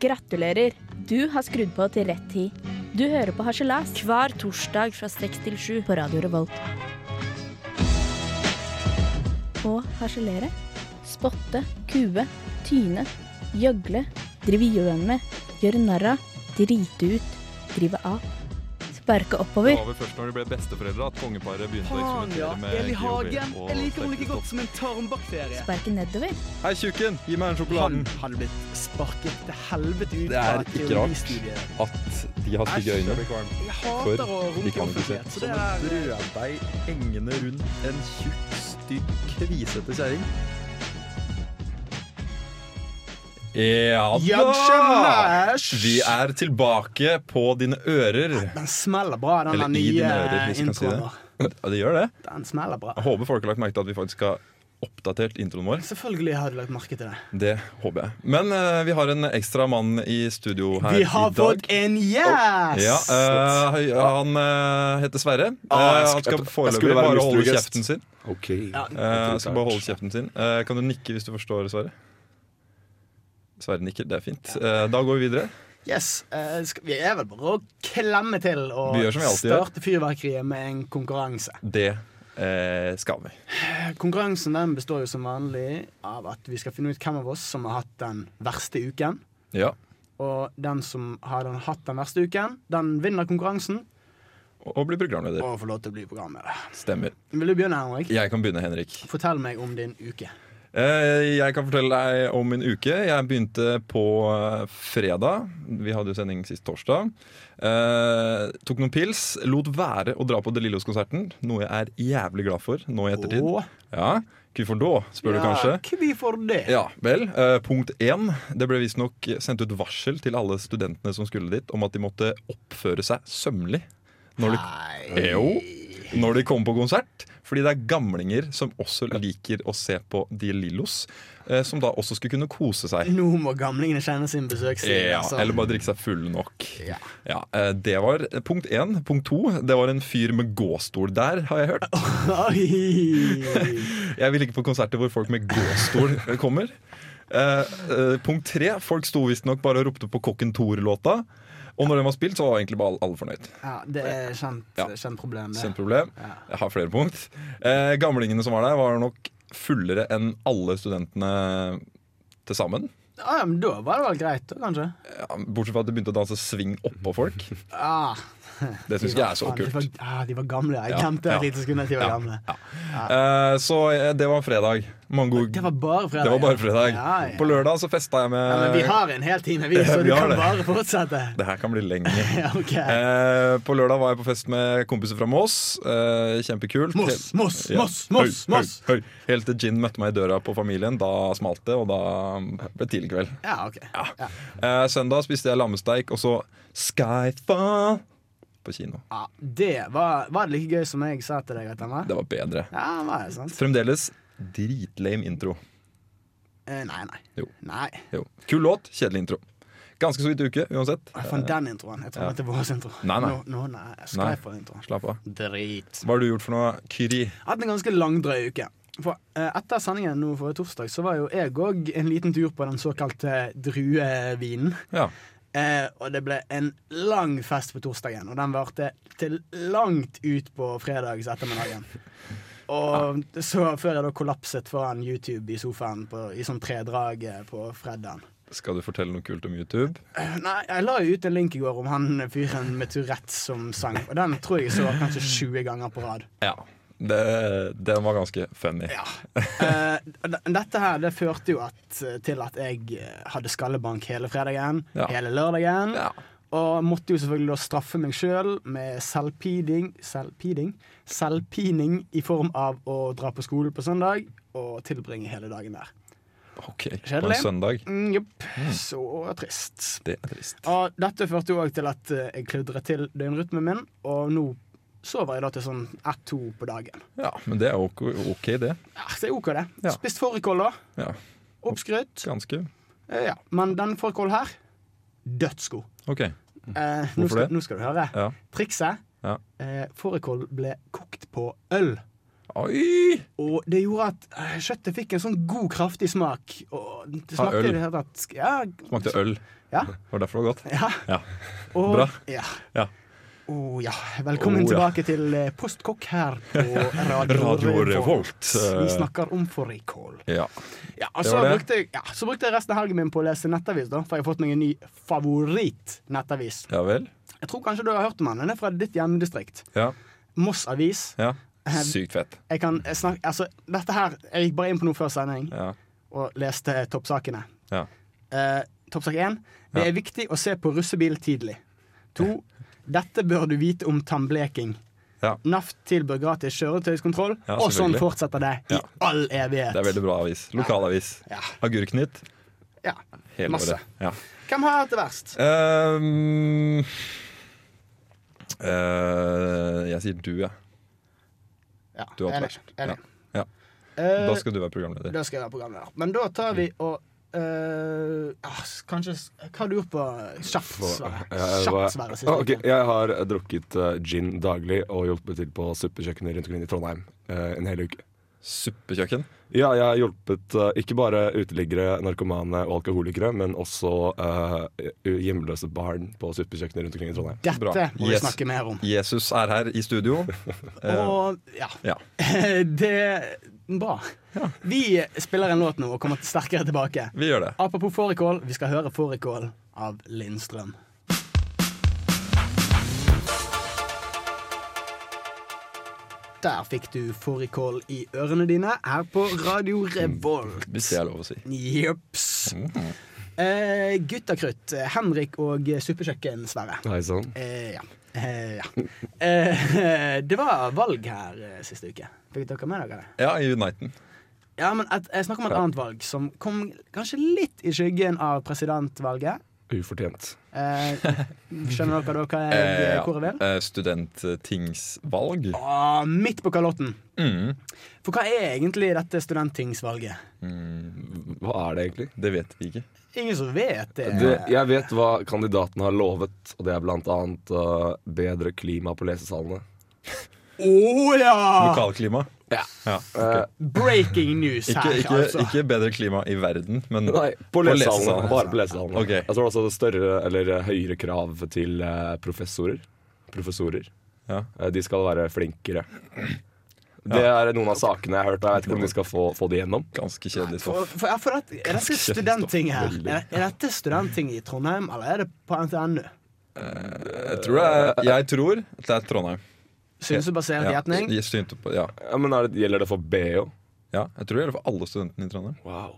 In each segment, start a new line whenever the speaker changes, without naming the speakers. Gratulerer! Du har skrudd på til rett tid. Du hører på Harselas
Hver torsdag fra seks til sju.
på Radio Revolt. Å harselere, spotte, kue, tyne, gjøgle, drive gjøn med, gjøre narr av, drite ut, drive av. Sparke
Det
oppover.
var vel først når de ble besteforeldre at kongeparet begynte å
Faen, ja.
eksperimentere med
Eli Hagen.
GHB og
Jeg liker henne like
sterkere
godt som en tarmbakterie.
Sparke nedover.
stoff. Hei, tjukken! Gi meg den
Han
sjokoladen!
hadde blitt sparket til helvete ut
Det er ikke rart.
teoristudiet.
At de har stygge
Æsj, jeg
øyne.
blir kvalm.
Jeg
For
hater å
de kan
runke
ikke Sånn
offentlighet, så
Som
det
en
er eh,
brødbeig hengende rundt en tjukk, stygg, kvisete kjerring.
Ja da! Vi
Jabsjalash!
er tilbake på dine ører.
Den smeller bra, den
Eller
der
i dine
nye
ører, hvis man kan si det.
introen. vår.
Ja, det gjør det.
Den smeller bra.
Jeg håper folk har lagt merke til at vi faktisk har oppdatert introen vår.
Selvfølgelig har du lagt merke til det.
Det håper jeg. Men eh, vi har en ekstra mann i studio her
Vi har
i dag.
fått en yes!
Ja, eh, hei, han eh, heter Sverre.
Ah, jeg sk-
Eh, han skal
jeg- jeg
foreløpig
skulle være
bare holde
lystreguest.
kjeften sin.
OK.
Ja,
Eh, skal bare holde kjeften sin. Eh, kan du nikke hvis du forstår, Sverre? Sverre nikker, det er fint. Eh, da går vi videre.
yes. eh, skal, vi er vel bare å klemme til og
Vi gjør som vi alltid gjør.
starte fyrverkeriet med en konkurranse.
Det eh, skal vi.
Eh, Konkurransen den består jo som vanlig av at vi skal finne ut hvem av oss som har hatt den verste uken.
Ja.
Og den som har den, hatt den verste uken, den vinner konkurransen
Og, og bli programleder.
og får lov til å bli programleder.
Stemmer.
Vil du begynne, Henrik?
Jeg kan begynne, Henrik.
Fortell meg om din uke.
Eh, Jeg kan fortelle deg om min uke. Jeg begynte på eh, fredag. Vi hadde jo sending sist torsdag. Eh, tok noen pils. Lot være å dra på De Lillos-konserten, noe jeg er jævlig glad for nå i ettertid.
Åh.
Ja, Hvorfor da, spør du kanskje.
Ja, hvorfor det?
Ja, vel. Eh, punkt én. Det ble visstnok sendt ut varsel til alle studentene som skulle dit, om at de måtte oppføre seg sømmelig når de
Nei.
jo, når de kommer på konsert. Fordi det er gamlinger som også liker å se på De Lillos. eh, Som da også skulle kunne kose seg.
Nå må gamlingene kjenne sin besøkstid.
Ja,
Mm. altså.
eller bare drikke seg full nok.
Ja.
Ja, eh, det var punkt én. Punkt to, det var en fyr med gåstol der, har jeg hørt.
Oi.
Jeg vil ikke på konserter hvor folk med gåstol kommer. Eh, eh, punkt tre, folk sto visstnok bare og ropte på Kokken Thor-låta. Og når den var spilt, så var egentlig bare alle fornøyd.
Ja, det er kjent,
Ja.
kjent problem, det.
Kjent problem.
Ja.
Jeg har flere punkt. Eh, gamlingene som var der, var nok fullere enn alle studentene til sammen.
Ah, ja, men da var det vel greit, da, kanskje?
Ja, bortsett fra at de begynte å danse swing oppå folk.
Ah,
Det syns jeg er så
faen, De
kult.
var, ah, de var gamle. Jeg
Ja,
glemte
ja.
et lite sekund at de var gamle.
Eh, så eh, det var fredag. Mange
Det
gode
var bare fredag.
Det var bare
Ja,
fredag.
ja.
På lørdag så festa jeg
ja, men vi
med
har en hel time, vi, så
Vi
du
har
kan
det.
bare fortsette.
Det her kan bli lenge.
Ja, ok.
Eh, på lørdag var jeg på fest med kompiser fra Moss. Eh, kjempekult.
Moss, Moss,
Ja.
Moss,
Høy,
Moss!
høy,
Moss.
høy. Helt til gin møtte meg i døra på familien. Da smalt det, og da ble det tidlig kveld.
Ja, ok. Ja.
Eh, søndag spiste jeg lammesteik, og så Skyfall på kino.
Ja, det var, var det like gøy som jeg sa til deg at den var?
Det var bedre.
Ja, den var det sant?
Fremdeles dritlame intro.
Eh, nei, nei.
Jo.
Nei.
Jo. Kul låt, kjedelig intro. Ganske så vidt uke, uansett.
Jeg fant den introen. Jeg tror det var vår intro.
Eh, Nei, nei.
Nå, nå, nei. Skyfall-introen.
Slapp av.
Drit.
Hva har du gjort for noe, Kyri?
Hatt en ganske langdrøy uke. For, eh, etter sendingen nå forrige torsdag så var jo jeg òg en liten tur på den såkalte druevinen.
Ja.
Eh, og det ble en lang fest på torsdagen, og den varte til langt ut på fredags ettermiddagen. Og så før jeg da kollapset foran YouTube i sofaen på, i sånn tredrag eh, på fredagen. Eh,
Skal du fortelle noe kult om YouTube?
Nei, jeg la jo ut en link i går om han fyren med Tourettes som sang, og den tror jeg så kanskje 20 ganger på rad.
Ja. Det, den var ganske funny.
Ja. Eh, d- dette her det førte jo at, til at jeg eh, hadde skallebank hele fredagen,
Ja.
hele lørdagen.
Ja.
Og måtte jo selvfølgelig da straffe meg sjøl selv med selvpiding Selvpiding? Selvpining i form av å dra på skolen på søndag og tilbringe hele dagen der.
Ok, på en
Kjedelig.
søndag.
Mm, Jupp. Så trist.
Det er trist.
Og dette førte jo òg til at eh, jeg kludret til døgnrytmen min, og nå sover jeg da til sånn ett-to på dagen.
Ja, men det er ok, ok det.
Ja, det er OK, det.
Ja.
Spist fårikål, da.
Ja,
Oppskrytt.
ganske.
Eh, Ja, men den fårikålen her dødsgod.
Ok.
Eh, nå,
Hvorfor
skal,
det?
nå skal du høre.
Ja.
Trikset
Ja.
eh, Fårikål ble kokt på øl.
Oi!
Og det gjorde at eh, kjøttet fikk en sånn god, kraftig smak. Og det
Av
smakte
øl.
i det hele tatt Ja.
Smakte øl.
Ja.
Det var derfor det var godt.
ja.
Ja.
Og,
Bra.
Ja.
Ja.
Å, ja. Velkommen
Å, ja.
tilbake til eh, Postkokk her på Radio,
Radio Revolt. eh,
Vi snakker om fårikål.
Ja.
Ja, og så
var det.
brukte, jeg, ja, så brukte jeg resten av helgen min på å lese nettavis, da, for jeg har fått meg en ny favoritt-nettavis.
ja vel.
Jeg tror kanskje du har hørt om den. Den er fra ditt hjemdistrikt.
Ja.
Moss Avis.
ja. Sykt fett.
Jeg kan eh, snakke, altså, dette her, jeg gikk bare inn på noe før sending
Ja.
og leste toppsakene.
Ja.
Eh, toppsak 1. Det
Ja.
er viktig å se på russebil tidlig. 2. Dette bør du vite om tannbleking.
Ja.
NAF tilbyr gratis kjøretøyskontroll,
Ja,
og sånn
selvfølgelig.
fortsetter det i
Ja.
all evighet.
Det er veldig bra avis. Lokalavis.
Ja.
Agurknytt
Ja.
hele
Masse.
året. Ja.
Hvem har hatt det verst?
Ehm, eh, jeg sier du, jeg.
Ja,
Du har hatt
enig,
verst.
enig.
Ja.
Eh,
Da skal du være programleder.
da skal jeg være programleder. Men da tar vi
Mm.
og eh, ah, Kanskje s- Hva har du gjort på eh, kjapt, Sverre?
eh,
Kjapt, Sverre, siste
Ok,
uken.
jeg har eh, drukket eh, gin daglig og hjulpet til på suppekjøkkenet rundt omkring i Trondheim eh, en hel uke.
Suppekjøkken.
Ja, jeg har hjulpet eh, ikke bare uteliggere, narkomane og alkoholikere, men også eh, hjemløse barn på suppekjøkkenet rundt omkring i Trondheim.
Dette
Bra.
må vi
Yes.
snakke mer om.
Jesus er her i studio. Eh,
Og ja.
ja.
Det er bra. Vi spiller en låt nå og kommer sterkere tilbake.
Vi gjør det.
Apropos fårikål, vi skal høre fårikål av Lindstrøm. Der fikk du fårikål i ørene dine her på Radio Revolt.
Hvis det er lov å si.
Jepps.
Mhm.
Eh, Guttakrutt, eh, Henrik og Suppekjøkken, Sverre.
Hei sann.
Eh, ja. Eh, ja. Eh, det var valg her eh, siste uke. Fikk dere med dere det?
Ja, i Uniten.
Ja, men et, jeg snakker om et annet valg som kom kanskje litt i skyggen av presidentvalget.
Ufortjent.
Eh, skjønner dere da hva jeg,
Eh, ja.
hvor jeg vil?
Eh, Studenttingsvalg.
Ah, midt på kalotten.
Mm,
For hva er egentlig dette studenttingsvalget?
Hva er det egentlig?
Mm, det vet vi ikke.
Ingen som vet det.
Det, jeg vet hva kandidatene har lovet, og det er blant annet eh, bedre klima på lesesalene.
Å ja!
Lokalklima.
Ja.
Ja.
Eh,
Breaking news
Ikke,
her,
ikke,
altså.
ikke bedre klima i verden, men
Nei, på lesesalene.
lesesalene.
Bare på lesesalene.
Ok.
Jeg tror også det er større eller eh, høyere krav til eh, professorer. Professorer.
Ja.
Eh, De skal være flinkere. Det er noen av sakene jeg har hørt, og jeg vet ikke om de skal få, få det gjennom.
ganske kjedelig
For,
stoff.
for, ja, for dette, er dette
Ganske
studentting her?
veldig.
Er, er dette studentting i Trondheim, eller er det på NTNU?
Jeg tror,
eh,
det er- jeg tror det er Trondheim.
Synsebasert
Ja,
gjetning?
jeg syntes på- ja.
Ja, men er det, Gjelder det for BH?
ja, jeg tror det gjelder for alle studentene i Trondheim.
Wow.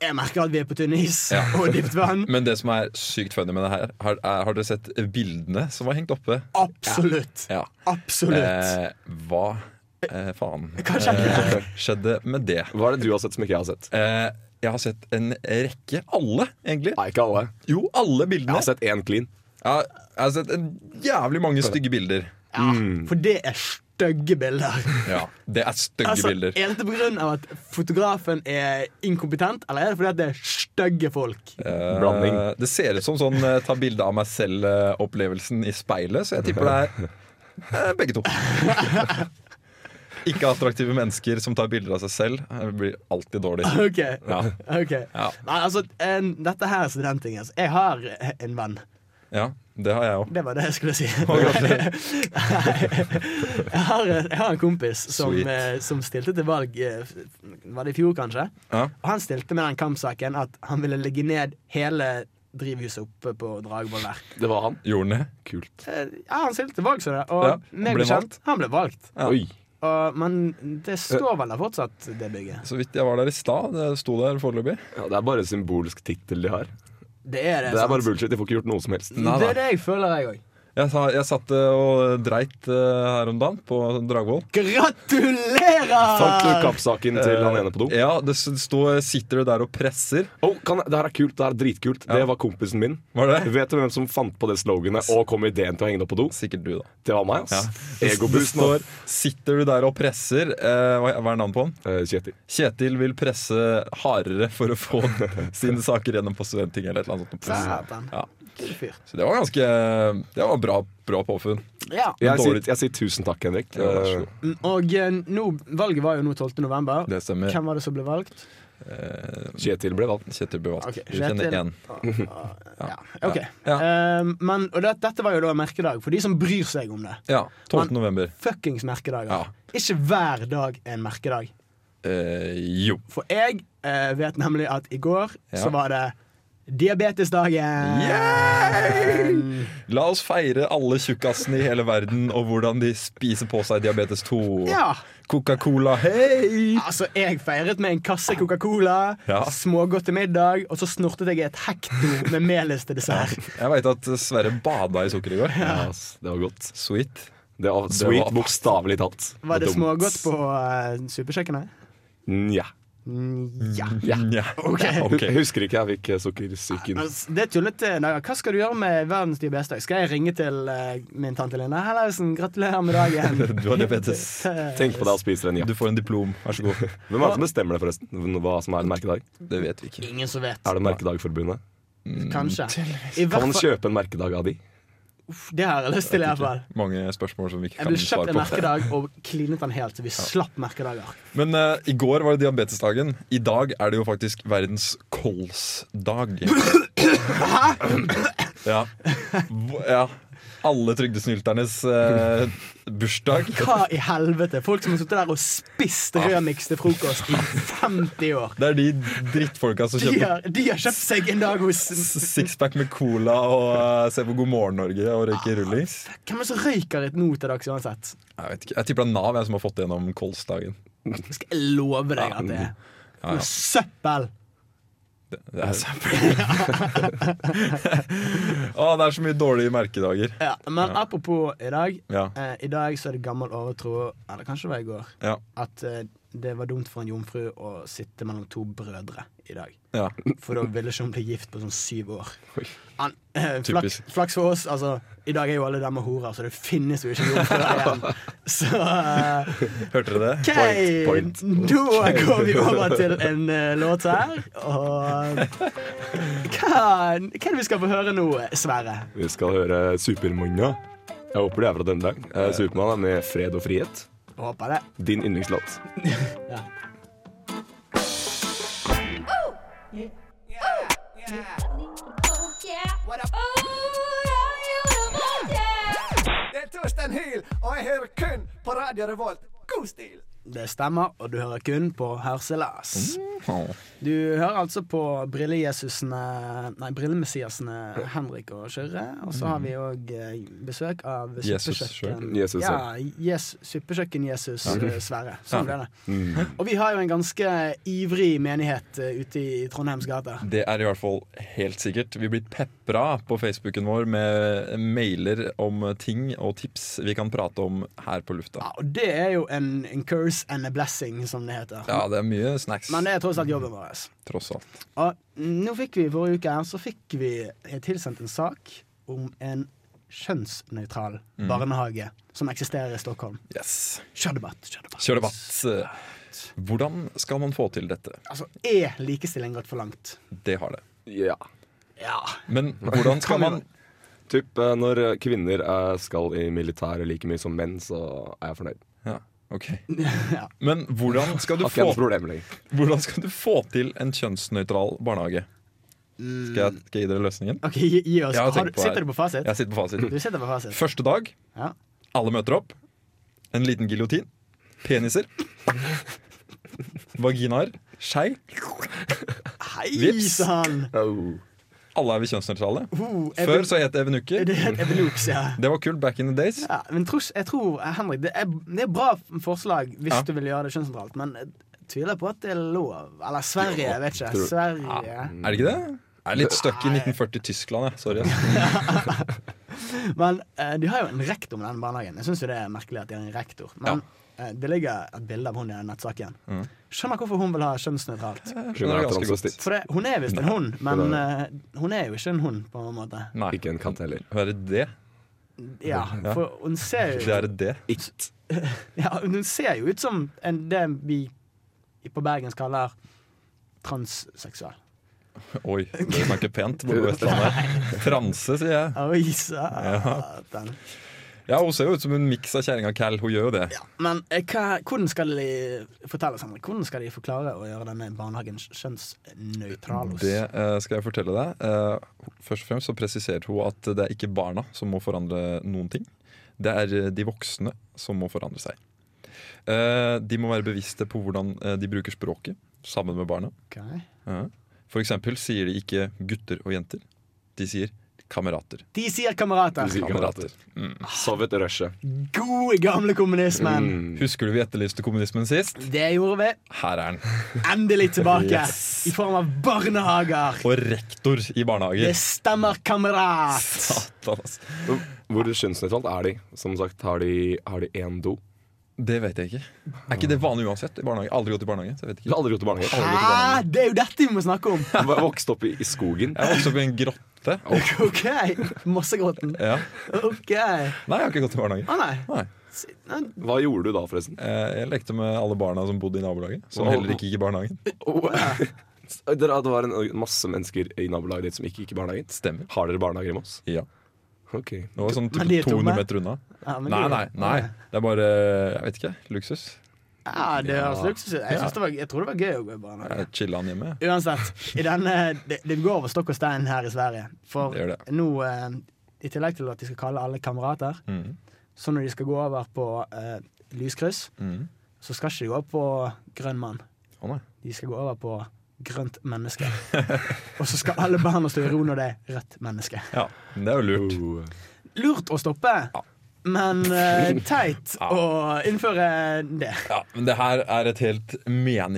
Jeg merker at vi er på tynn is og dypt vann.
Men det som er sykt funny med det her, har, er, har dere sett bildene som var hengt oppe?
Absolutt.
Ja.
Absolutt.
Eh, hva eh, faen
Hva skjedde?
eh, skjedde med det?
Hva er det du har sett som ikke jeg har sett?
Eh, jeg har sett en rekke. Alle, egentlig.
Nei, ikke alle.
Jo, alle bildene.
Jeg har sett én clean.
Ja, jeg har sett en jævlig mange stygge bilder.
Ja,
mm.
for det er stygge bilder.
Ja, Det er stygge
Altså,
bilder.
er dette pga. at fotografen er inkompetent, eller er det fordi at det er stygge folk?
Eh,
Blanding.
det ser ut som sånn eh, ta bilde av meg selv-opplevelsen i speilet, så jeg tipper det er eh, begge to. Ikke attraktive mennesker som tar bilder av seg selv. Det blir alltid dårlig.
Ok,
Ja.
ok
Ja.
Nei, altså, en, Dette her er studentting. Altså. Jeg har eh, en venn.
Ja, det har jeg òg.
Det var det jeg skulle si. jeg, har, jeg har en kompis som,
Sweet.
eh, som stilte til valg eh, f- Var det i fjor, kanskje?
Ja.
Og han stilte med den kampsaken at han ville legge ned hele drivhuset oppe på Dragvoll der.
Det var han.
Gjorde den det?
Kult.
Eh, Ja, han stilte til valg, så det. Og
Ja,
meg
ble
bekjent, han ble valgt.
Ja.
Oi.
Og, men det står vel der fortsatt, det bygget.
Så vidt jeg var der i stad. Det sto der foreløpig.
Ja, det er bare symbolsk tittel de har.
Det er det.
Det er
sant?
bare bullshit. De får ikke gjort noe som helst.
Nei,
det
nei.
er det jeg føler, jeg òg.
Jeg, sa, jeg satt eh, og dreit eh, her om dagen på Dragvoll.
Fant du
Gratulerer!
kappsaken til han ene på do?
Eh, Ja, det s- står, sitter du der og presser.
Oh, kan, jeg- det her er kult. Det her er dritkult. Det var kompisen min.
Var det?
Vet du hvem som fant på det sloganet og kom med ideen til å henge det opp på do?
Sikkert du, da.
Det var meg, ass.
Ja. Det
Egoboost nå.
står 'Sitter du der og presser'. Eh, hva hva er navnet på han?
Eh, Kjetil.
Kjetil vil presse hardere for å få sine saker gjennom på studenting eller et eller annet sånt.
Satan.
Ja.
kul fyr.
Så det var ganske Det var bra, bra påfunn.
Ja.
Jeg sier,
Dårlig.
jeg sier tusen takk, Henrik.
Ja, vær så god.
Eh,
Mm, Og eh, nå, valget var jo nå 12. november.
Det stemmer.
Hvem var det som ble valgt?
Eh,
Kjetil ble valgt.
Kjetil ble valgt.
Ok,
Vi kjenner
Kjetil.
én.
Ah, ah, ja, ok.
Ja.
Eh, men, og det, dette var jo da en merkedag for de som bryr seg om det.
Ja. 12.
Men-
november.
Fuckings merkedager.
Ja.
Ikke hver dag er en merkedag.
Eh, jo.
For jeg eh, vet nemlig at i går
Ja.
så var det diabetesdagen.
Yay! La oss feire alle tjukkasene i hele verden og hvordan de spiser på seg diabetes 2.
Ja.
Coca-Cola, hei!
Altså, jeg feiret med en kasse Coca-Cola,
Ja.
smågodt til middag, og så snortet jeg et hekto med melis til dessert.
Jeg veit at Sverre bada i sukker i går.
Ja, ass, det var godt.
Sweet.
Det var,
Det
sweet,
var-
bokstavelig talt.
Var det
Dumt.
smågodt på eh, superkjøkkenet?
Nja.
Ja.
Nja.
Ok.
Ok.
Jeg husker ikke. Jeg fikk eh, sukkersyken.
Altså, det er tullete. Naga. Hva skal du gjøre med verdens diabetesdag? Skal jeg ringe til eh, min tante Lene Hellausen? Gratulerer med dagen. Eh,
Du har diabetes.
Tenk på deg og spis den. Ja.
Du får en diplom, vær så god.
Hvem er det som bestemmer det, forresten? Hva som er en merkedag?
Det vet vi ikke.
Ingen som vet.
Er det Merkedagforbundet?
Kanskje. I
Kan
hvert
man
fall,
kjøpe en merkedag av de?
Uff, det har jeg lyst til, i hvert fall.
Mange spørsmål som vi ikke
Jeg ble
kan
kjøpt
svare
en
på.
merkedag og klinet den helt, så vi slapp merkedager.
Men eh, i går var det diabetesdagen. I dag er det jo faktisk verdens kolsdag. Ja. Hvo- ja. Alle trygdesnylternes eh, bursdag.
Hva i helvete? Folk som har sittet der og spist rødmiks til frokost i 50 år.
Det er de drittfolka som
De
kjøper
har, de har kjøpt seg en dag hos
sixpack med cola og eh, ser på God morgen Norge og røyker rullings.
Hvem er det som røyker et nå til dags uansett?
Jeg vet ikke, jeg tipper det er Nav jeg, som har fått det gjennom kolsdagen.
Skal jeg love deg at det er
Ja, ja.
noe søppel?
Det er søppel. Å, det er så mye dårlige merkedager.
Ja, men apropos i dag.
Ja,
Eh, I dag så er det gammel overtro, eller kanskje det var i går,
ja,
at eh, det var dumt for en jomfru å sitte mellom to brødre i dag.
ja.
For da ville ikke hun bli gift på sånn syv år.
Oi.
Han, eh, flaks,
Typisk.
flaks for oss, altså. I dag er jo alle damer horer, så det finnes jo ikke jomfruer igjen. Så eh,
Hørte dere det?
OK,
point.
nå går vi over til en eh, låt her. Og hva, hva er det vi skal få høre nå, Sverre?
Vi skal høre Supermanna. Jeg håper det er fra denne dag. Eh, Supermann er med Fred og frihet.
Håper det.
Din yndlingslåt.
Ja.
Oh yeah. What up? Oh, yeah, you yeah.
Det er Torstein Hyl, og jeg hører kun på Radio Revolt. God stil!
Det stemmer, og du hører kun på Hørselas.
Mm.
Du hører altså på brillejesusene Nei, brillemessiasene Henrik og Kyrre. Og så har vi òg besøk av
Jesus
suppekjøkken
Jesus,
Ja,
ja.
yes, Suppekjøkken-Jesus eh, Sverre. Sånn ble
Mm.
det. Og vi har jo en ganske ivrig menighet eh, ute i Trondheims gater.
Det er i hvert fall helt sikkert. Vi blir pepra på Facebooken vår med mailer om ting og tips vi kan prate om her på lufta.
Ja, og det er jo en, en curse and a blessing, som det heter.
Ja, det er mye snacks,
Men det er tross alt jobben vår.
tross alt.
Og nå fikk vi forrige uke her, så fikk vi eh, tilsendt en sak om en kjønnsnøytral
Mm.
barnehage som eksisterer i Stockholm.
Yes.
Kjør debatt, kjør debatt.
Kjør debatt. Hvordan skal man få til dette?
Altså, er likestilling gått for langt?
Det har det.
ja.
Ja.
Men hvordan skal man
Typ, eh, når eh, kvinner eh, skal i militæret like mye som menn, så er jeg fornøyd.
Ja, ok. Men hvordan skal du
Har ikke
få
jeg noe problem lenger.
Hvordan skal du få til en kjønnsnøytral barnehage? Skal jeg, skal jeg gi dere løsningen?
OK, gi, gi oss.
Jeg har
Mm. Har
tenkt
du,
på det her.
sitter du på fasit?
Jeg sitter på
Du
fasit.
sitter på fasit.
Første dag,
Ja.
alle møter opp. En liten giljotin. Peniser. Vaginaer. Skei.
Hei
Vips.
sann!
Alle er vi kjønnsnøytrale.
Oh, jeg
Før
vil-
så het det evenukker.
Det er et evolux, ja.
Det var kult back in the days.
ja. Men tros, jeg tror, eh, Henrik, det er, det er bra forslag hvis
Ja.
du vil gjøre det kjønnssentralt, men jeg tviler på at det er lov. Eller Sverige, jeg vet ikke. Sverige
Ah, Er det ikke det? Jeg er litt stuck i 1940 Tyskland, jeg. Sorry. ass.
Men eh, de har jo en rektor med den barnehagen. Jeg syns det er merkelig at de har en rektor. Men eh, det ligger et bilde av hun i den nettsaken.
Mm.
Skjønner hvorfor hun vil ha kjønnsnøytralt.
Skjønner jeg
ganske
ganske godt.
For det, hun er visst en hund, men eh, hun er jo ikke en hund, på en måte.
Nei.
Ikke en katt heller.
Hva er det?
Ja,
Ja.
for hun ser
Det
jo,
er det.
Ikke.
ja, hun ser jo ut som en, det vi på bergensk kaller transseksuell.
Oi, det snakker pent borte på Vestlandet. Franse, sier jeg.
Oi, satan.
Ja, Hun ser jo ut som en miks av kjerringa Cal. Hun gjør jo det.
Ja. Men eh, hva, hvordan skal de fortelle oss, Henrik? Hvordan skal de forklare å gjøre denne barnehagen kjønnsnøytral? hos-
Det eh, skal jeg fortelle deg. Eh, først og fremst så presiserte hun at det er ikke barna som må forandre noen ting. Det er eh, de voksne som må forandre seg. Eh, de må være bevisste på hvordan eh, de bruker språket sammen med barna.
Ok.
Ja. For eksempel sier de ikke gutter og jenter. De sier kamerater.
De sier kamerater.
De sier- Kamerater. Sovjet og Russia.
Gode, gamle kommunismen.
Mm.
Husker du vi etterlyste kommunismen sist?
Det gjorde vi.
Her er den.
Endelig tilbake. I form av barnehager.
Og rektor i
Det
barnehager.
stemmer, kamerat.
Satan, ass.
Hvor kjønnsnøytralt er de? Som sagt, har de, har de én do?
Det vet jeg ikke. Er ikke det vanlig uansett i barnehage? Aldri gått i barnehage. Så jeg vet
Jeg
ikke.
har aldri gått i barnehage.
Hæ? Det er jo dette vi må snakke om.
Jeg var vokst opp i, i skogen.
Jeg vokste opp i en grotte.
OK. Mossegråten.
Ja.
OK. Å
Nei, jeg har ikke gått i barnehage.
nei.
Nei.
Si- nei.
Hva gjorde du da, forresten?
Eh, Jeg lekte med alle barna som bodde i nabolaget. Som
Wow.
heller ikke gikk i barnehagen.
Oh. Dere, det var en, eh, masse mennesker i nabolaget ditt som ikke gikk i barnehagen.
Stemmer.
Har dere barnehager i Moss?
Ja.
Ok.
Det var sånn
Men de er
200
tomme.
meter unna.
Ja, men
Nei,
du-
nei, nei. Det er bare Jeg vet ikke. Luksus.
Ja, det høres luksus ut. Jeg, synes det var- jeg tror det var gøy å gå i barnehage.
Jeg chilla han hjemme.
Uansett, i denne, det, det går over stokk og stein her i Sverige. For
Det gjør det.
nå, eh, i tillegg til at de skal kalle alle kamerater,
Mhm.
så når de skal gå over på eh, lyskryss,
Mhm.
så skal ikke de gå over på grønn mann.
Å nei.
De skal gå over på grønt menneske. og så skal alle barna stå i ro når det er rødt menneske.
Ja, men det er jo lurt.
Oh.
Lurt å stoppe, men eh, teit
Ja.
å innføre det.
Ja, men det her er et helt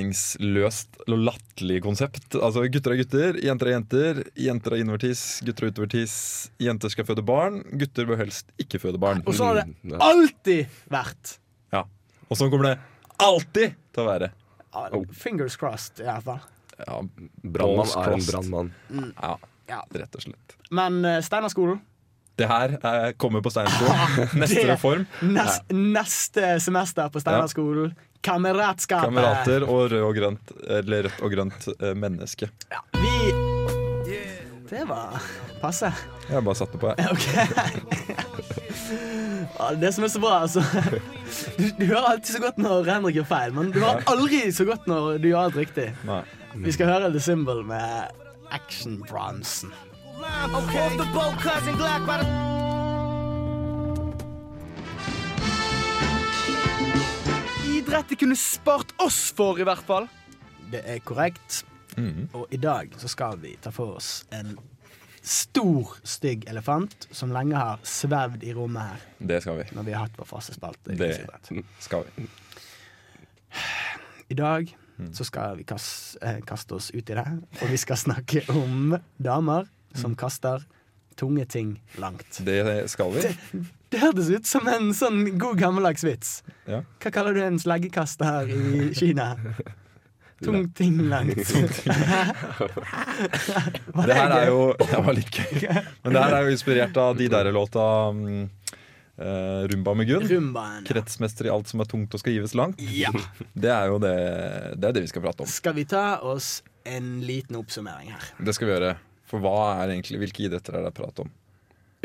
meningsløst og latterlig konsept. Altså, Gutter er gutter, jenter er jenter. Jenter er innovertis, gutter er utovertis. Jenter skal føde barn, gutter bør helst ikke føde barn.
Og så har det
Mm, ja.
alltid vært.
Ja. Og sånn kommer det alltid til å være.
Ja, Fingers crossed, i hvert fall.
Ja,
Brannmann er en
crossed.
brannmann.
ja,
Ja.
rett og slett.
Men eh, Steinerskolen
Det her er, kommer på Steinerskolen. Neste
det-
reform.
Nes, Neste semester på Steinerskolen. Kameratskapet.
Kamerater og rød og grønt, eller rødt og grønt eh, menneske.
Vi Det var passe.
Jeg bare satte på, jeg.
OK. Ja, Det som er så bra, altså du, du hører alltid så godt når Henrik gjør feil, men du hører aldri så godt når du gjør alt riktig.
Nei.
Vi skal høre The Symbol med Action Bronson.
Idrett de kunne spart oss for, i hvert fall.
Det er korrekt. Og i dag så skal vi ta for oss en stor, stygg elefant som lenge har svevd i rommet her
Det skal vi.
når vi har hatt vår faste spalte.
Det
Idrettsidrett.
skal vi.
I dag så skal vi kas- eh, kaste oss ut i det, og vi skal snakke om damer som kaster tunge ting langt.
Det skal vi.
Det hørtes ut som en sånn god gammeldags vits.
Ja.
Hva kaller du en sleggekaster i Kina? Tung ting langt. Hva
Det her er jo Det var litt gøy. Men det her er jo inspirert av de der låta mm, eh, Rumba med Gunn.
Rumbaen.
Kretsmester i alt som er tungt og skal gives langt.
Ja.
Det er jo det, det, er det vi skal prate om.
Skal vi ta oss en liten oppsummering her?
Det skal vi gjøre. For hva er egentlig, hvilke idretter er det prat om?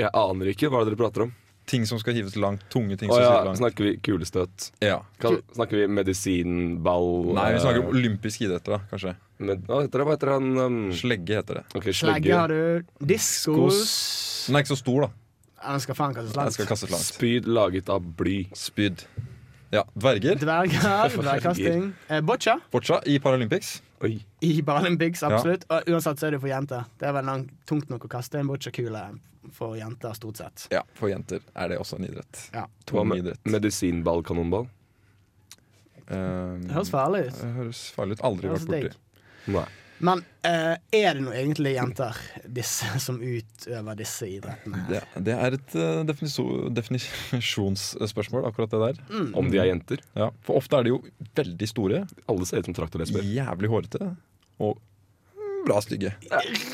Jeg aner ikke hva dere prater om.
Ting som skal hives langt. Tunge ting
Å
som
ja,
skal hives langt.
snakker vi kulestøt?
Ja.
Kan, snakker vi medisinball?
Nei, vi snakker om
eh,
olympiske idretter, da, kanskje.
med, hva, heter det, hva heter han um,
Slegge heter det.
Ok,
Slegge
slegge.
har du. Diskos.
Den er ikke så stor, da.
Ja, Den skal faen kastes
Den skal
langt.
kastes langt.
Spyd laget av bly.
Spyd. Ja. Dverger.
Dverger, dvergkasting. Eh, Boccia
Boccia i Paralympics.
Oi.
i Paralympics, absolutt. Og uansett så er det for jenter. Det er vel langt, tungt nok å kaste en boccia-kule for jenter, stort sett.
Ja, for jenter er det også en idrett.
Ja.
Hva
Tung
med
idrett.
medisinball, kanonball?
Um,
Det
Mm.
høres farlig ut.
Det høres farlig ut. Aldri
Høres
vært borti.
digg.
Nei.
Men eh, er det nå egentlig jenter disse, som utøver disse idrettene? her?
Det, det er et eh, definiso- definisjonsspørsmål, akkurat det der.
Mm.
Om de er jenter?
Ja, for ofte er de jo veldig store,
Alle ser ut som traktorlesber.
jævlig hårete og bra stygge.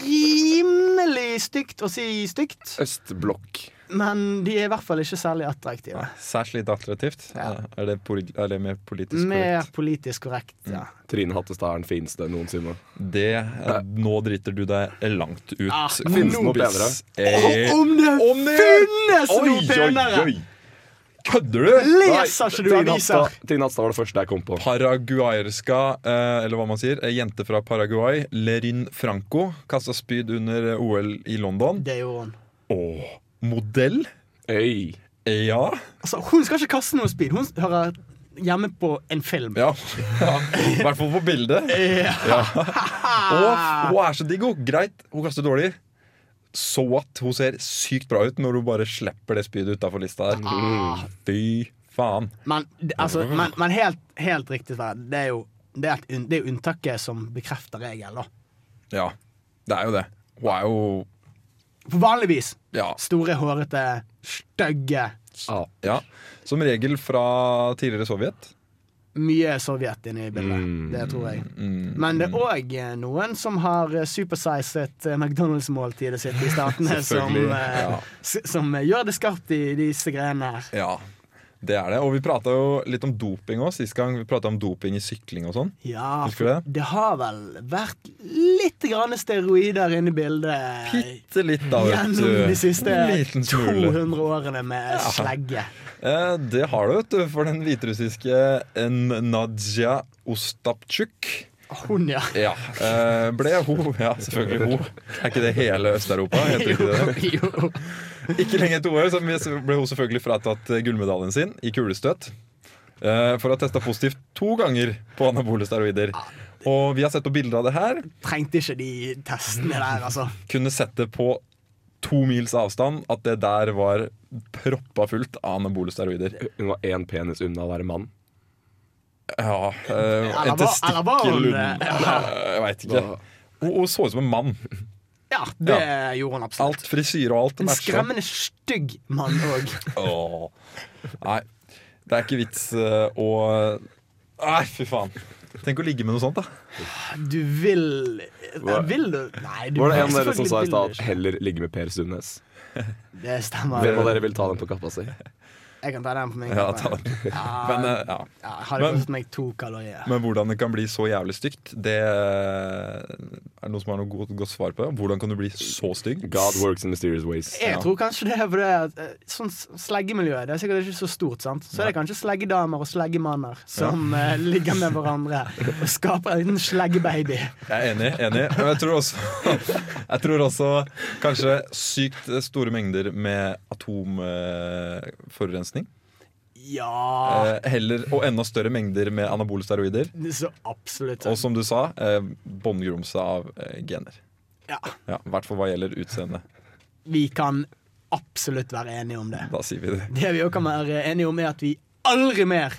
Rimelig stygt å si stygt.
Østblokk.
Men de er i hvert fall ikke særlig attraktive.
Særs lite attraktivt. Eh,
Ja.
Er, det poli- er Mm. det mer politisk
Mer
korrekt?
politisk korrekt, ja.
Trine Hattestad er den fineste noensinne.
Det eh, Nå driter du deg langt ut.
Ah,
finnes det noe
kompis.
Og
Eh,
om det
Om det-
finnes
Oi,
noe penere!
oi, oi! Kødder du?!
Leser ikke du
Trine
aviser?
Hattestad- Trine Hattestad var det første jeg kom på.
Paraguayerska, eh, eller hva man sier, ei jente fra Paraguay, Lerin Franco, kasta spyd under eh, OL i London.
Det gjorde hun.
Åh, modell?
Øy.
Ja.
Altså, hun skal ikke kaste noe speed. Hun hører hjemme på en film.
ja. I hvert fall på bildet.
Ja.
Og hun er så digg, hun. Greit, hun kaster dårlig. Så at hun ser sykt bra ut når hun bare slipper det spydet utafor lista der.
Ah.
Fy faen.
Men, det- altså, men, men helt, helt riktig, Sverre. Det er jo det er, et unn- det er jo unntaket som bekrefter regelen, da.
Ja, det er jo det. Hun er jo
For vanligvis
Ja.
store, hårete, stygge
ja. Som regel fra tidligere Sovjet.
Mye Sovjet inne i bildet.
Mm.
Det tror jeg. Men det er òg noen som har eh, supersizet eh, McDonald's-måltidet sitt i statene, som,
Selvfølgelig,
eh,
ja.
s- som eh, gjør det skarpt i disse greiene her.
Ja, det er det. Og vi prata jo litt om doping òg sist gang. Vi prata om doping i sykling og sånn.
Ja,
Husker du det?
det har vel vært litt grann steroider inne i bildet.
Bitte litt, da, vet du.
Gjennom de siste
En liten smule.
200 årene med slegge.
Eh, det har du, vet du. For den hviterussiske eh, Nadia Ostapchuk
Hun, ja.
ja, eh, ble hun Ja, selvfølgelig hun. Er ikke det hele Øst-Europa? Heter ikke det det?
Jo.
Ikke lenge etter OL så ble hun selvfølgelig fratatt eh, gullmedaljen sin i kulestøt. eh, For å ha testa positivt to ganger på anabole steroider. Og vi har sett på bilder av det her.
Trengte ikke de testene der, altså.
Kunne sett det på to mils avstand at det der var proppa fullt av anabole steroider.
Hun var én penis unna å være mann.
Ja, eh,
Eller
En
var- eller var hun
testikkel
det?
Eh, Jeg veit ikke. Hun hun så ut som en mann.
Ja, det gjorde hun absolutt.
Alt sånn. frisyre og alt
En
matcha.
skremmende stygg mann òg.
Åh. Nei, det er ikke vits eh, å Nei, fy faen. Tenk å ligge med noe sånt, da.
Du vil eh,
Hva-
Vil du? Nei, du
Var det en av dere som
selvfølgelig
sa i
vil
stad
du
at heller ligge med Per Sundnes?
ikke. Det stemmer.
Hvem av dere vil ta den på kappa si?
Jeg kan ta den på min
Ja,
kappe.
ta den.
Ja,
Men, eh, ja.
ja, Hadde
men-
kostet meg to kalorier.
Men hvordan det kan bli så jævlig stygt, det eh, er det noen som har noe godt, godt svar på det? Hvordan kan du bli så stygg?
God works in mysterious ways.
Jeg tror kanskje det er fordi at eh, sånn s- sleggemiljø Det er sikkert ikke så stort, sant? Så det er kanskje sleggedamer og sleggemanner som eh, ligger med hverandre og skaper en liten sleggebaby.
Jeg er enig. enig Og jeg tror også, jeg tror også kanskje sykt store mengder med atomforurensning.
Ja
Eh. Heller, og enda større mengder med anabole steroider.
Så absolutt.
Og som du sa, eh, båndgrumse av eh, gener.
Ja.
Ja, I hvert fall hva gjelder utseende.
Vi kan absolutt være enige om det.
Da sier vi det.
Det vi òg kan være enige om, er at vi aldri mer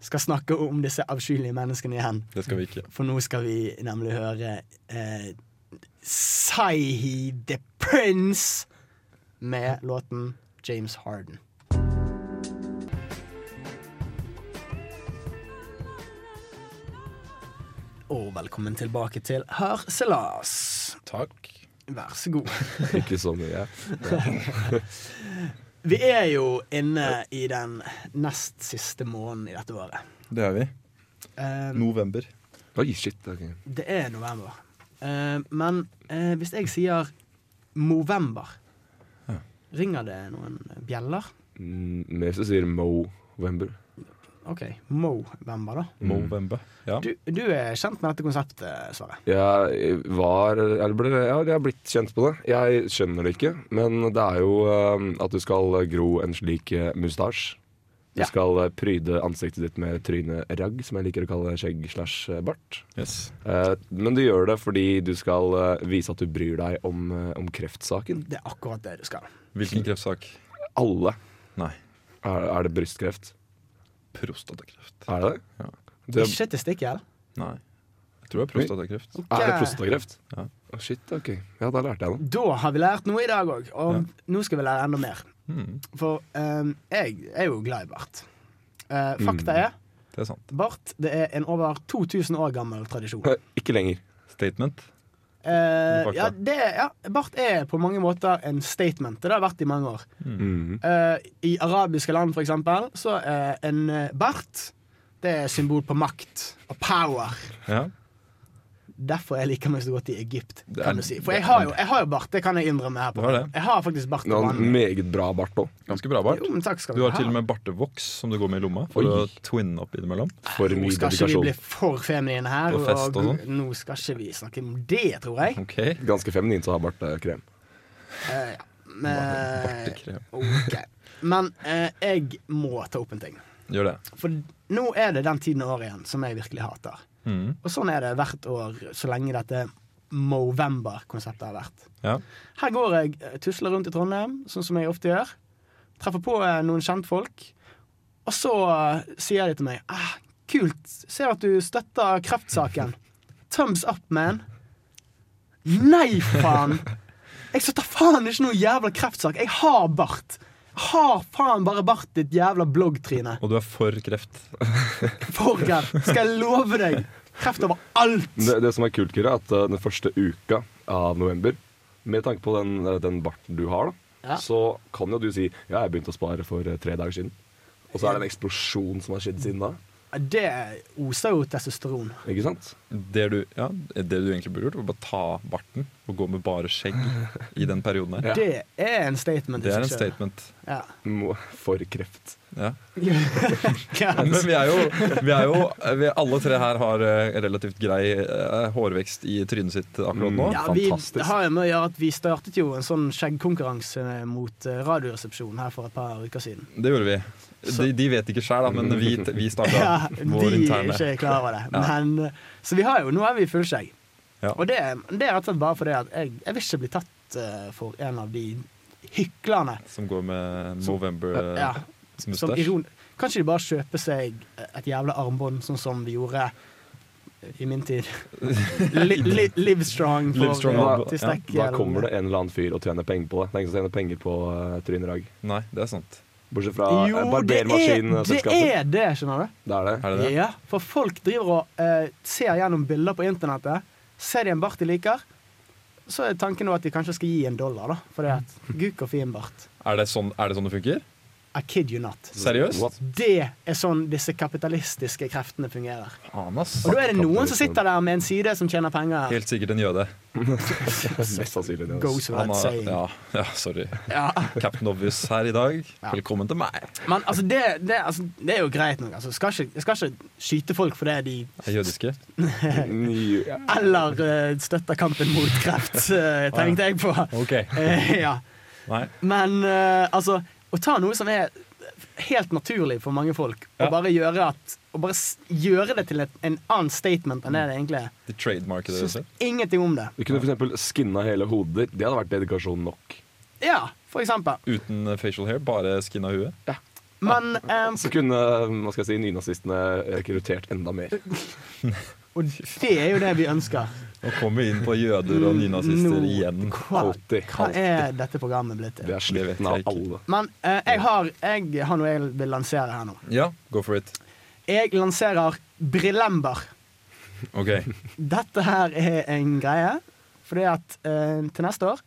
skal snakke om disse avskyelige menneskene igjen.
Det skal vi ikke.
For nå skal vi nemlig høre eh, Saihi the Prince med låten James Harden. Og velkommen tilbake til Harselas.
Takk.
Vær så god.
Ikke så mye.
Vi er jo inne i den nest siste måneden i dette året.
Det gjør vi.
Eh,
November.
Oi, shit. ok.
det er november. Eh, men eh, hvis jeg sier Movember, ringer det noen bjeller?
Mm, Mer så sier Movember.
OK, Movember, da.
Movember. Ja.
Du, du er kjent med dette konseptet, Sverre.
Jeg var Eller ble ja, Jeg har blitt kjent på det. Jeg skjønner det ikke, men det er jo eh, at du skal gro en slik eh, mustasj. Du
Ja.
skal eh, pryde ansiktet ditt med tryneragg, som jeg liker å kalle skjegg slash eh, bart.
Yes.
Eh, Men du gjør det fordi du skal eh, vise at du bryr deg om, eh, om kreftsaken.
Det er akkurat det du skal.
Hvilken kreftsak?
Alle.
Nei.
Er, er det brystkreft?
Prostatakreft.
Er det det?
Ja.
Det-
Ikke testikkel.
Nei. Jeg tror det er prostatakreft.
Er det
Ok.
prostatakreft?
Ja.
Å, shit, ok. Ja, da lærte jeg noe.
Da har vi lært noe i dag òg, og nå skal vi lære enda mer.
Mm.
For eh, jeg er jo glad i bart. Eh, fakta
Mm.
er
Det er sant.
Bart det er en over 2000 år gammel tradisjon.
Ikke lenger.
Statement.
Eh,
Fakta.
ja, det, ja, bart er på mange måter en statement. Det har vært i mange år.
Mm.
Eh, I arabiske land, for eksempel, så er en eh, bart det er symbol på makt og power.
Ja.
Derfor jeg liker meg så godt i Egypt,
Det er-
kan du si. For
det
jeg
er-
har jo, jeg har jo bart, det kan jeg innrømme her.
Du
på
har det?
Jeg har faktisk bart
Du
på
har en
banen.
meget bra bart òg.
Ganske bra bart.
Jo, men takk skal
Du har til og
ha.
med bartevoks som du går med i lomma for
Oi.
å twinne opp innimellom.
For
Nå
mye
skal ikke vi
dedikasjon.
bli for feminine her.
På fest og sånn.
nå skal ikke vi snakke om det, tror jeg.
Ok,
Ganske feminint å ha bart eh, krem.
Eh, ja. Men, eh,
Bartekrem.
ok. Men eh, jeg må ta opp en ting.
Gjør det.
For nå er det den tiden av året igjen som jeg virkelig hater.
Mhm.
Og sånn er det hvert år så lenge dette Movember-konseptet har vært.
Ja.
Her går jeg, eh, tusler rundt i Trondheim, sånn som jeg ofte gjør. Treffer på eh, noen kjentfolk. Og så eh, sier de til meg ah, Kult, ser at du støtter kreftsaken. Thumbs up, man. Nei, faen! Jeg støtter faen ikke noe jævla kreftsak. Jeg har bart. Jeg Har faen bare bart, ditt jævla bloggtryne.
Og du er for kreft.
For kreft. Skal jeg love deg. Kreft over alt.
Det, det som er kult, Kyrre, er at eh, den første uka av november, med tanke på den, eh, den barten du har, da,
Ja.
så kan jo du si Ja, jeg begynte å spare for eh, tre dager siden. Og så er det en eksplosjon som har skjedd siden da.
Det oser jo testosteron.
Ikke sant?
Det du, ja, det du egentlig burde gjort, var bare ta barten og gå med bare skjegg i den perioden her.
Ja.
Det er en statement. i
Det er en
seg selv.
statement.
Ja.
Må- For kreft.
Ja.
Ja.
Men vi er jo, vi er jo vi Alle tre her har eh, relativt grei eh, hårvekst i trynet sitt akkurat nå.
Mm. Ja, vi, det
Fantastisk.
har jo med å gjøre at vi startet jo en sånn skjeggkonkurranse mot eh, Radioresepsjonen her for et par uker siden.
Det gjorde vi.
Så-
De, de vet ikke sjæl, men vi, vi
Ja,
starta vår
de er
interne.
ikke klar over det. Men, eh, så vi har jo, nå er vi fullskjegg.
Ja.
Og det, det er rett og slett bare fordi at jeg, jeg vil ikke bli tatt eh, for en av de hyklerne.
Som går med Movember
Ja,
som
eh, som
mustache.
iron. Kanskje de bare kjøper seg et jævla armbånd, sånn som vi gjorde i min tid. Li, li, live strong for
Live strong
eh,
armbånd,
til stekk-
Da kommer det en eller annen fyr og tjener penger på det. Det er ingen som tjener penger på uh, trynedag.
Nei, det er sant.
Bortsett fra
Jo, det
eh,
er, det
barbermaskinselskapet.
er det, skjønner du.
Det er det.
Er det det?
Ja, for folk driver og eh, ser gjennom bilder på internettet. Ser de en bart de liker, så er tanken nå at de kanskje skal gi en dollar, da. Fordi at gud, hvor fin bart.
Er det sånn, er det, sånn det funker?
I kid you not.
Seriøst?
What?
Det er sånn disse kapitalistiske kreftene fungerer.
Faen, ass.
Og da er det noen som sitter der med en side som tjener penger.
Helt sikkert en jøde.
Mest sannsynlig. det, altså.
Goes
Han
without
har,
saying.
ja, ja, sorry.
Ja.
Captain Obvious her i dag.
Ja.
Velkommen til meg.
Men altså, det, det, altså, det er jo greit nok. Altså, skal ikke, jeg skal ikke skyte folk fordi de
Jeg er jødiske.
Ny-
Eller eh, støtter kampen mot kreft, eh, tenkte jeg på.
Ok.
Eh, ja.
Nei.
Men eh, altså, å ta noe som er helt naturlig for mange folk,
Ja.
og bare gjøre, at, og bare s- gjøre det til et, en annen statement enn det det egentlig er
De trademarker det.
Syns
selv.
ingenting om det.
Du kunne f.eks. skinna hele hodet ditt. Det hadde vært dedikasjon nok.
Ja, for eksempel.
Uten eh, facial hair, bare skin av huet.
Men eh,
Så kunne hva skal jeg si, nynazistene eh, rekruttert enda mer.
Og det er jo det vi ønsker.
Nå kommer vi inn på jøder og nynazister
Nå-
igjen.
Hva,
Alltid.
hva er dette programmet blitt
Det
til?
er slutten
Det vet jeg
av
ikke.
alle.
Men eh, jeg, har, jeg har noe jeg vil lansere her nå.
Ja, go for it.
Jeg lanserer Brillember.
Ok.
Dette her er en greie. Fordi at eh, til neste år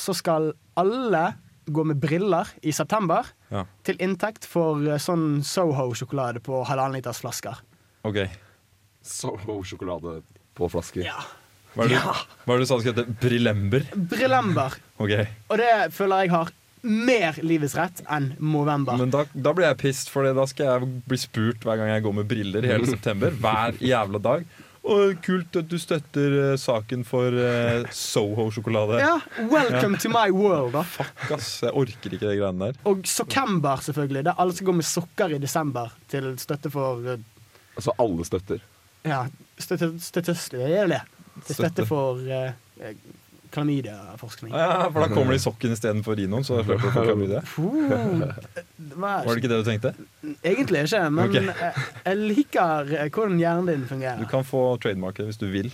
så skal alle gå med briller i september
Ja.
til inntekt for eh, sånn Soho-sjokolade på halvannen liters flasker.
ok.
Soho-sjokolade på flasker.
Ja.
Hva er det, hva er det du sa det skulle hete? Brilember?
Brillember.
Ok.
Og det føler jeg har mer livets rett enn Movember.
Men da, da blir jeg pissed, for da skal jeg bli spurt hver gang jeg går med briller hele september. Hver jævla dag. Og kult at du støtter eh, saken for eh, Soho-sjokolade.
Ja, Welcome to my world, da.
Fuck, ass. Jeg orker ikke de greiene der.
Og Sokember, selvfølgelig. Der alle skal gå med sokker i desember til støtte for eh,
Så Altså, alle støtter.
Ja, støtte, støtte, støtte, til støtte
Støtte.
for eh, eh, klamydiaforskning.
Ah, Ja, for da kommer de i sokken istedenfor rinoen, så slipper du å få klamydia.
Puh, det var,
Var det ikke det du tenkte?
Egentlig ikke, men
Ok.
eh, jeg liker eh, hvordan hjernen din
Du
fungerer.
kan få trademarket hvis du vil.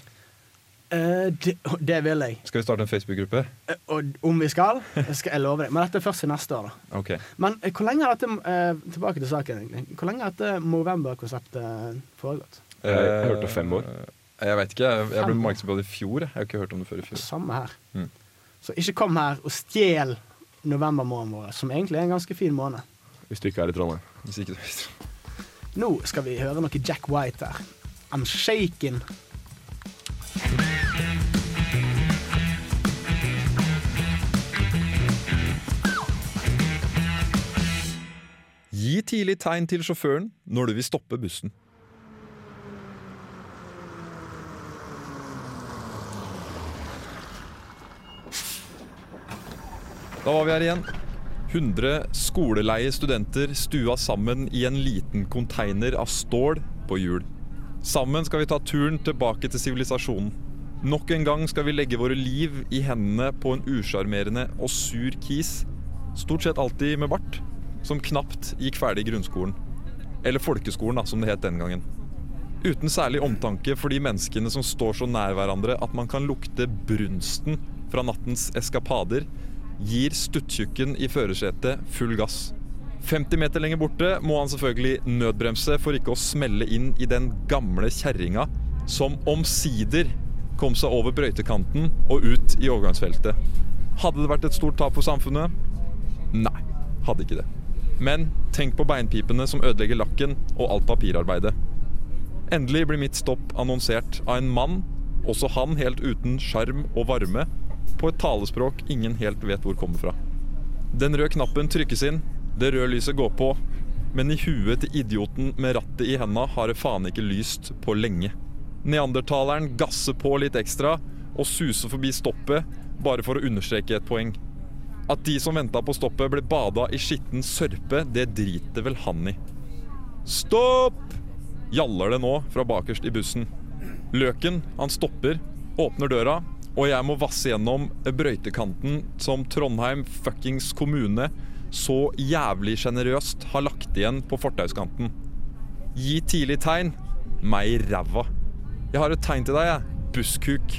Eh, det, og det vil jeg.
Skal vi starte en Facebook-gruppe?
Eh, og om vi skal, skal jeg love deg. Men dette er først til neste år, da.
Ok.
Men eh, hvor lenge har dette eh, Tilbake til saken, egentlig. Hvor lenge har dette Movember-konseptet foregått?
Jeg hørte fem år.
Eh, Jeg vet ikke, jeg, jeg ble oppmerksom på det i fjor. Jeg har ikke hørt om det før i fjor.
Samme her.
Mm.
Så ikke kom her og stjel novembermåneden vår, som egentlig er en ganske fin måned.
Hvis du ikke er i Trondheim.
Hvis ikke du visste.
Nå skal vi høre noe Jack White her. I'm shaken.
Gi tidlig tegn til sjåføren når du vil stoppe bussen. Da var vi her igjen. 100 skoleleie studenter stua sammen i en liten konteiner av stål på hjul. Sammen skal vi ta turen tilbake til sivilisasjonen. Nok en gang skal vi legge våre liv i hendene på en usjarmerende og sur kis. Stort sett alltid med bart, som knapt gikk ferdig i grunnskolen. Eller folkeskolen, da, som det het den gangen. Uten særlig omtanke for de menneskene som står så nær hverandre at man kan lukte brunsten fra nattens eskapader, gir stuttjukken i førersetet full gass. 50 meter lenger borte må han selvfølgelig nødbremse for ikke å smelle inn i den gamle kjerringa som omsider kom seg over brøytekanten og ut i overgangsfeltet. Hadde det vært et stort tap for samfunnet? Nei, hadde ikke det. Men tenk på beinpipene som ødelegger lakken og alt papirarbeidet. Endelig blir mitt stopp annonsert av en mann, også han helt uten sjarm og varme, på et talespråk ingen helt vet hvor kommer fra. Den røde knappen trykkes inn, det røde lyset går på, men i huet til idioten med rattet i henda har det faen ikke lyst på lenge. Neandertaleren gasser på litt ekstra og suser forbi stoppet, bare for å understreke et poeng. At de som venta på stoppet, ble bada i skitten sørpe, det driter vel han i. Stopp! Gjaller det nå fra bakerst i bussen. Løken, han stopper, åpner døra, og jeg må vasse gjennom brøytekanten som Trondheim fuckings kommune så jævlig sjenerøst har lagt igjen på fortauskanten. Gi tidlig tegn. Meg i ræva. Jeg har et tegn til deg, jeg. Busskuk.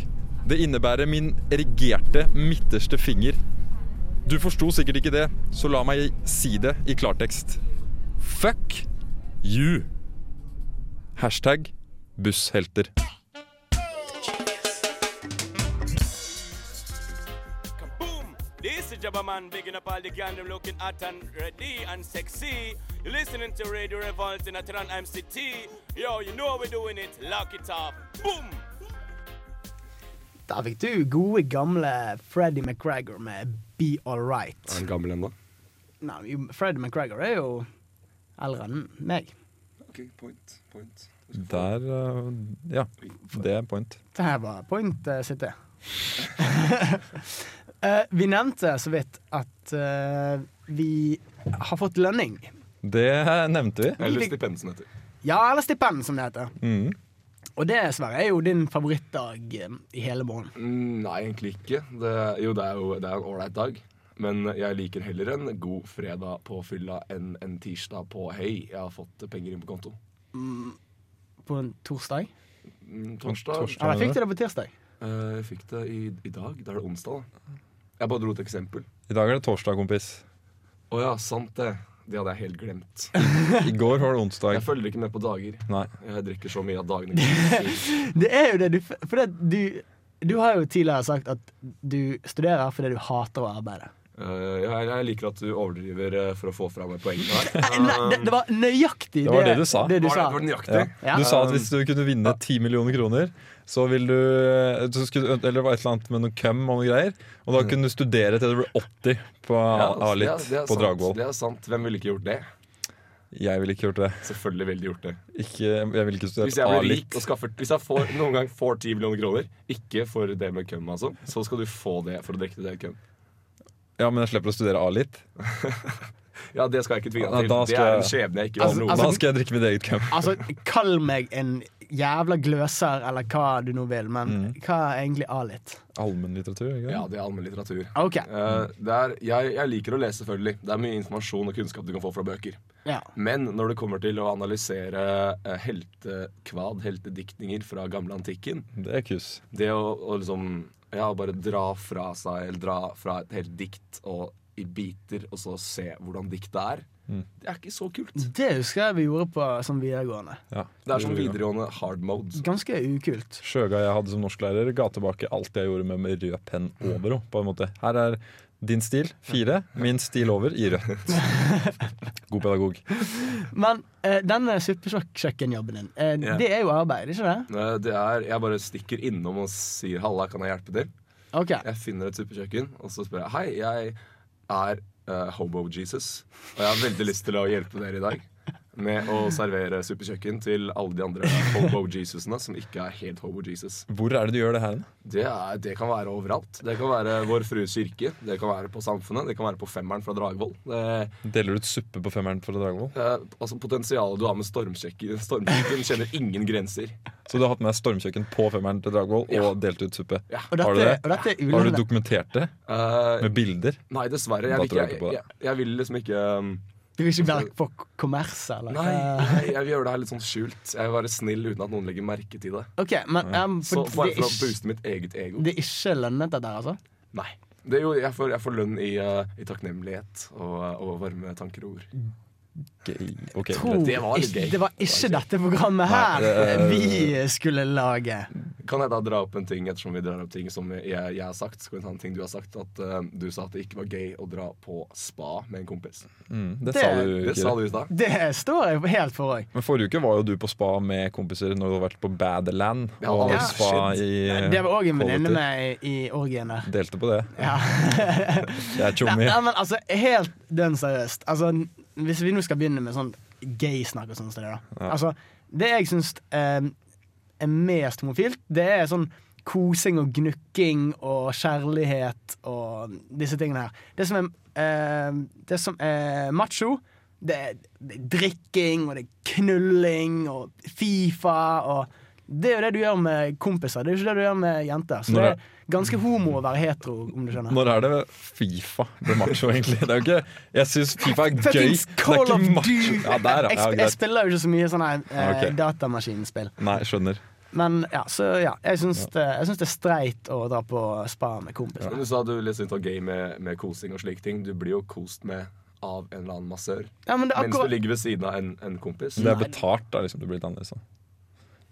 Det innebærer min erigerte midterste finger. Du forsto sikkert ikke det, så la meg si det i klartekst. Fuck you! Hashtag busshelter.
Boom! This is Jabba Man, bigging up all the gang, them looking hot and ready and sexy. You're listening to Radio Revolt in Atran MCT. Yo, you know how we're doing it. Lock it up. Boom!
Der fikk du gode, gamle Freddy McGregor med Be Alright.
Er han gammel ennå?
Nei, jo, Freddy McGregor er jo eldre enn meg.
Okay, point, point.
Der eh, Ja, det er point.
Det her var point eh, sitt, det. Eh, vi nevnte så vidt at eh, vi har fått lønning.
Det nevnte vi.
Eller stipend, som det heter.
Ja, eller stipend, som det heter.
Mm.
Og det, Sverre, er jo din favorittdag eh, i hele måneden.
Mm, Nei, egentlig ikke. Det, jo, det er jo det er en ålreit dag. Men jeg liker heller en god fredag på fylla enn en tirsdag på hei, jeg har fått penger inn på konto.
På en torsdag?
Mm, Torsdag
Torsdag.
Eller fikk du det på tirsdag?
Eh, Jeg fikk det i, i dag. Da er det onsdag, da. Jeg bare dro et eksempel.
I dag er det torsdag, kompis.
Å ja, sant det. Det hadde jeg helt glemt.
I går var det
Jeg
onsdag.
følger ikke med på dager.
Nei.
Jeg drikker så mye at dagene går.
Det er jo det du For det, du, du har jo tidligere sagt at du studerer fordi du hater å arbeide.
Eh, jeg, jeg liker at du overdriver eh, for å få fra meg poengene her.
Nei, nei, det, det var nøyaktig
Det var det du sa.
Det du
Var det,
sa.
var det nøyaktig?
Ja.
Ja.
Du sa at hvis du kunne vinne 10 millioner kroner, så vil du eh, så skulle, Eller det var et eller annet med noe køm og noe greier. Og da kunne du studere til du ble 80 på
Mm. Ja, altså, det er-
A-litt
det er
på
sant,
Dragvoll.
Det er sant. Hvem ville ikke gjort det?
Jeg ville ikke gjort det.
Selvfølgelig ville de gjort det.
Ikke, jeg ville ikke
Hvis
studert
jeg blir rik
A-litt.
og skaffer Hvis jeg får, noen gang får 10 millioner kroner, ikke for det med køm, altså, så skal du få det for å drikke det køm.
Ja, men jeg slipper å studere A-litt.
Ja, det skal jeg ikke tvinge
Ja,
deg til.
da
Det
skal
er en
jeg-
skjebne jeg ikke
Altså-
Da
vil ha noe
altså-
med.
skal jeg drikke mitt eget køm.
Altså, kall meg en jævla gløser, eller hva du nå vil, men hva er egentlig A-litt?
Allmennlitteratur? ikke
Ja,
sant?
det er allmennlitteratur.
OK.
Eh, det er, jeg, jeg liker å lese, selvfølgelig. Det er mye informasjon og kunnskap du kan få fra bøker.
Ja.
Men når det kommer til å analysere eh, heltekvad, heltediktninger fra gamle antikken
Det er kus.
Det å, å liksom ja, bare dra fra seg, eller dra fra et helt dikt og i biter, og så se hvordan diktet er
Mm.
Det er ikke så kult.
Det husker jeg vi gjorde på sånn videregående.
Ja.
Det er sånn videregående hard modes.
Ganske ukult.
Sjøga jeg hadde som norsklærer, ga tilbake alt jeg gjorde med, med rød penn over. og På en måte. Her er din stil fire, min stil over i rødt. God pedagog.
Men eh, denne suppekjøkkenjobben din, eh,
Ja.
det er jo arbeid, ikke det?
Eh, Det er, jeg bare stikker innom og sier 'halla, kan jeg hjelpe til?'
Ok,
Jeg finner et suppekjøkken, og så spør jeg 'hei, jeg er eh, Hobo-Jesus', og jeg har veldig lyst til å hjelpe dere i dag med å servere suppekjøkken til alle de andre Hobo-Jesusene som ikke er helt Hobo-Jesus.
Hvor er det du gjør det her? da?
Det, er- det kan være overalt. Det kan være Vår Frues kirke, det kan være på Samfunnet, det kan være på Femmeren fra Dragvoll. Det-
Deler du ut suppe på femmeren for Dragvoll?
eh, Altså Potensialet du har med stormkjøkken, stormkjøkken kjenner ingen grenser.
Så du har hatt med deg stormkjøkken på femmeren til Dragvoll
Ja.
og delt ut suppe?
Ja.
og
Har
dette,
du det?
og dette er
Har du
ulønnet.
dokumentert det
Eh,
med bilder?
Nei, dessverre. Jeg
Da
vil,
tror
ikke,
jeg
jeg,
ikke på det.
jeg, jeg vil liksom ikke um,
Du vil ikke være på k- kommers, eller?
Nei,
Eh,
nei, jeg vil gjøre det her litt sånn skjult. Jeg vil være snill uten at noen legger merke til det.
Ok, men em,
Så
for
Bare
det,
for
er
å
ikke,
booste mitt eget ego.
det er ikke lønnet dette her, altså?
Nei. Det er jo, jeg, får, jeg får lønn i, eh, i takknemlighet og, uh, og varme tanker og ord.
Gøy. Ok,
Tror
greit.
det var litt
ikke-
gøy.
Det var ikke dette programmet her
Nei,
vi skulle lage.
Kan jeg da dra opp en ting ettersom vi drar opp ting som jeg, jeg har sagt? Skal vi ta en ting du har sagt? At eh, du sa at det ikke var gøy å dra på spa med en kompis.
Mm, det,
Det-
sa du
Det
ikke.
sa du i stad.
Det står jeg helt for òg.
Men Forrige uke var jo du på spa med kompiser når du hadde vært på Badeland.
Ja,
og
ja.
spa i
Det var òg en
Quality.
venninne med i, i orgien der.
Delte på det.
Ja.
Jeg er
Nei,
tjommi.
nei, men altså, helt dønn seriøst. Altså, n- hvis vi nå skal begynne med sånn gay-snakk og sånn som det, da.
Ja.
Altså, det jeg syns eh, er mest homofilt, det er sånn kosing og gnukking og kjærlighet og disse tingene her. Det som er, eh, det som er macho, det er, det er drikking og det er knulling og Fifa og det er jo det du gjør med kompiser, det er jo ikke det du gjør med jenter. Så
Når
det
jeg-
er ganske homo å være hetero, om du skjønner.
Når er det Fifa blir macho, egentlig? Det er jo ikke, jeg syns Fifa er gøy.
Fuckings
Det er
Call
ikke
of
macho.
Duty.
Ja, der,
jeg,
ja,
sp- jeg
greit.
spiller jo ikke så mye sånne eh,
Ok.
datamaskinspill.
Nei, skjønner.
Men ja, så ja. Jeg syns, Det, jeg syns det er streit å dra på spa med kompiser.
Du sa du liksom ikke var gøy med, med kosing og slike ting. Du blir jo kost med av en eller annen massør.
Ja, men det er
Mens du
akkurat
ligger ved siden av en, en kompis.
Det er betalt, da. liksom, Det blir litt annerledes. Da.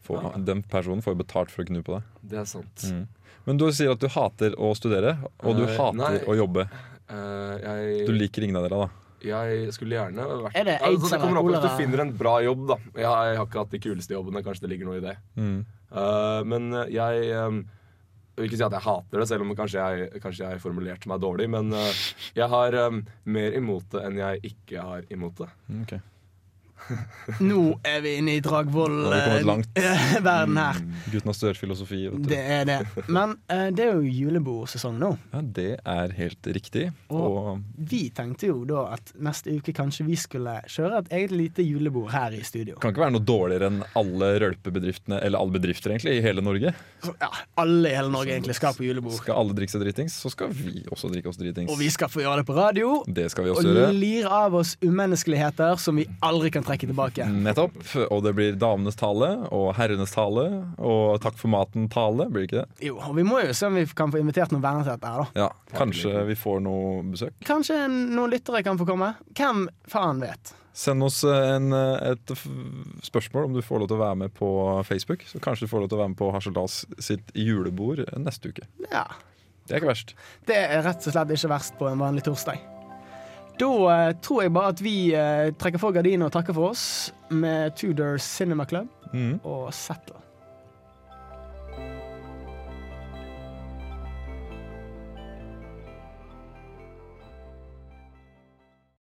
Får,
Ja.
Den personen får jo betalt for å gnu på deg.
Det er sant.
Mm. Men du sier at du hater å studere, og du
Eh,
hater
nei.
å jobbe.
Eh,
Du
jeg,
liker ingen av dere, da.
jeg skulle gjerne vært
Er det
altså,
AIDS
det kommer
eller
opp hvis
kolera?
du finner en bra jobb, da. Jeg, har- jeg har ikke hatt de kuleste jobbene. Kanskje det ligger noe i det.
Mm.
Eh, men jeg um, jeg vil ikke si at jeg hater det, selv om kanskje jeg, kanskje jeg formulerte meg dårlig. Men eh, jeg har eh, mer imot det enn jeg ikke har imot det.
ok.
Nå er vi inne i
Nå har vi kommet langt. Mm.
Dragvoll-verden her.
Gutten har studert filosofi. Vet du.
Det er det. Men eh, det er jo julebordsesong nå.
Ja, det er helt riktig.
Og-
Og
Vi tenkte jo da at neste uke kanskje vi skulle kjøre et eget lite julebord her i studio.
kan ikke være noe dårligere enn alle rølpebedriftene Eller alle bedrifter egentlig i hele Norge.
Så, ja, alle i hele Norge
Sånn
egentlig skal på julebord.
Skal alle drikke seg dritings, så skal vi også drikke oss dritings.
Og vi skal få gjøre det på radio.
Det skal vi
Og
også gjøre.
lir av oss umenneskeligheter som vi aldri kan trekke tilbake.
Nettopp. Og det blir damenes tale og herrenes tale og takk for maten-tale. Blir det ikke det?
Jo, og Vi må jo se om vi kan få invitert noen venner til dette. her da
Ja, Kanskje vi får noe besøk.
Kanskje noen lyttere kan få komme? Hvem faen vet?
Send oss en, eh, et f- spørsmål om du får lov til å være med på Facebook. Så kanskje du får lov til å være med på Harseldals sitt julebord neste uke.
Ja,
Det er ikke verst.
Det er rett og slett ikke verst på en vanlig torsdag. Da eh, tror jeg bare at vi eh, trekker for gardinene og takker for oss med Tudor Cinema Club
Mhm.
og Settle.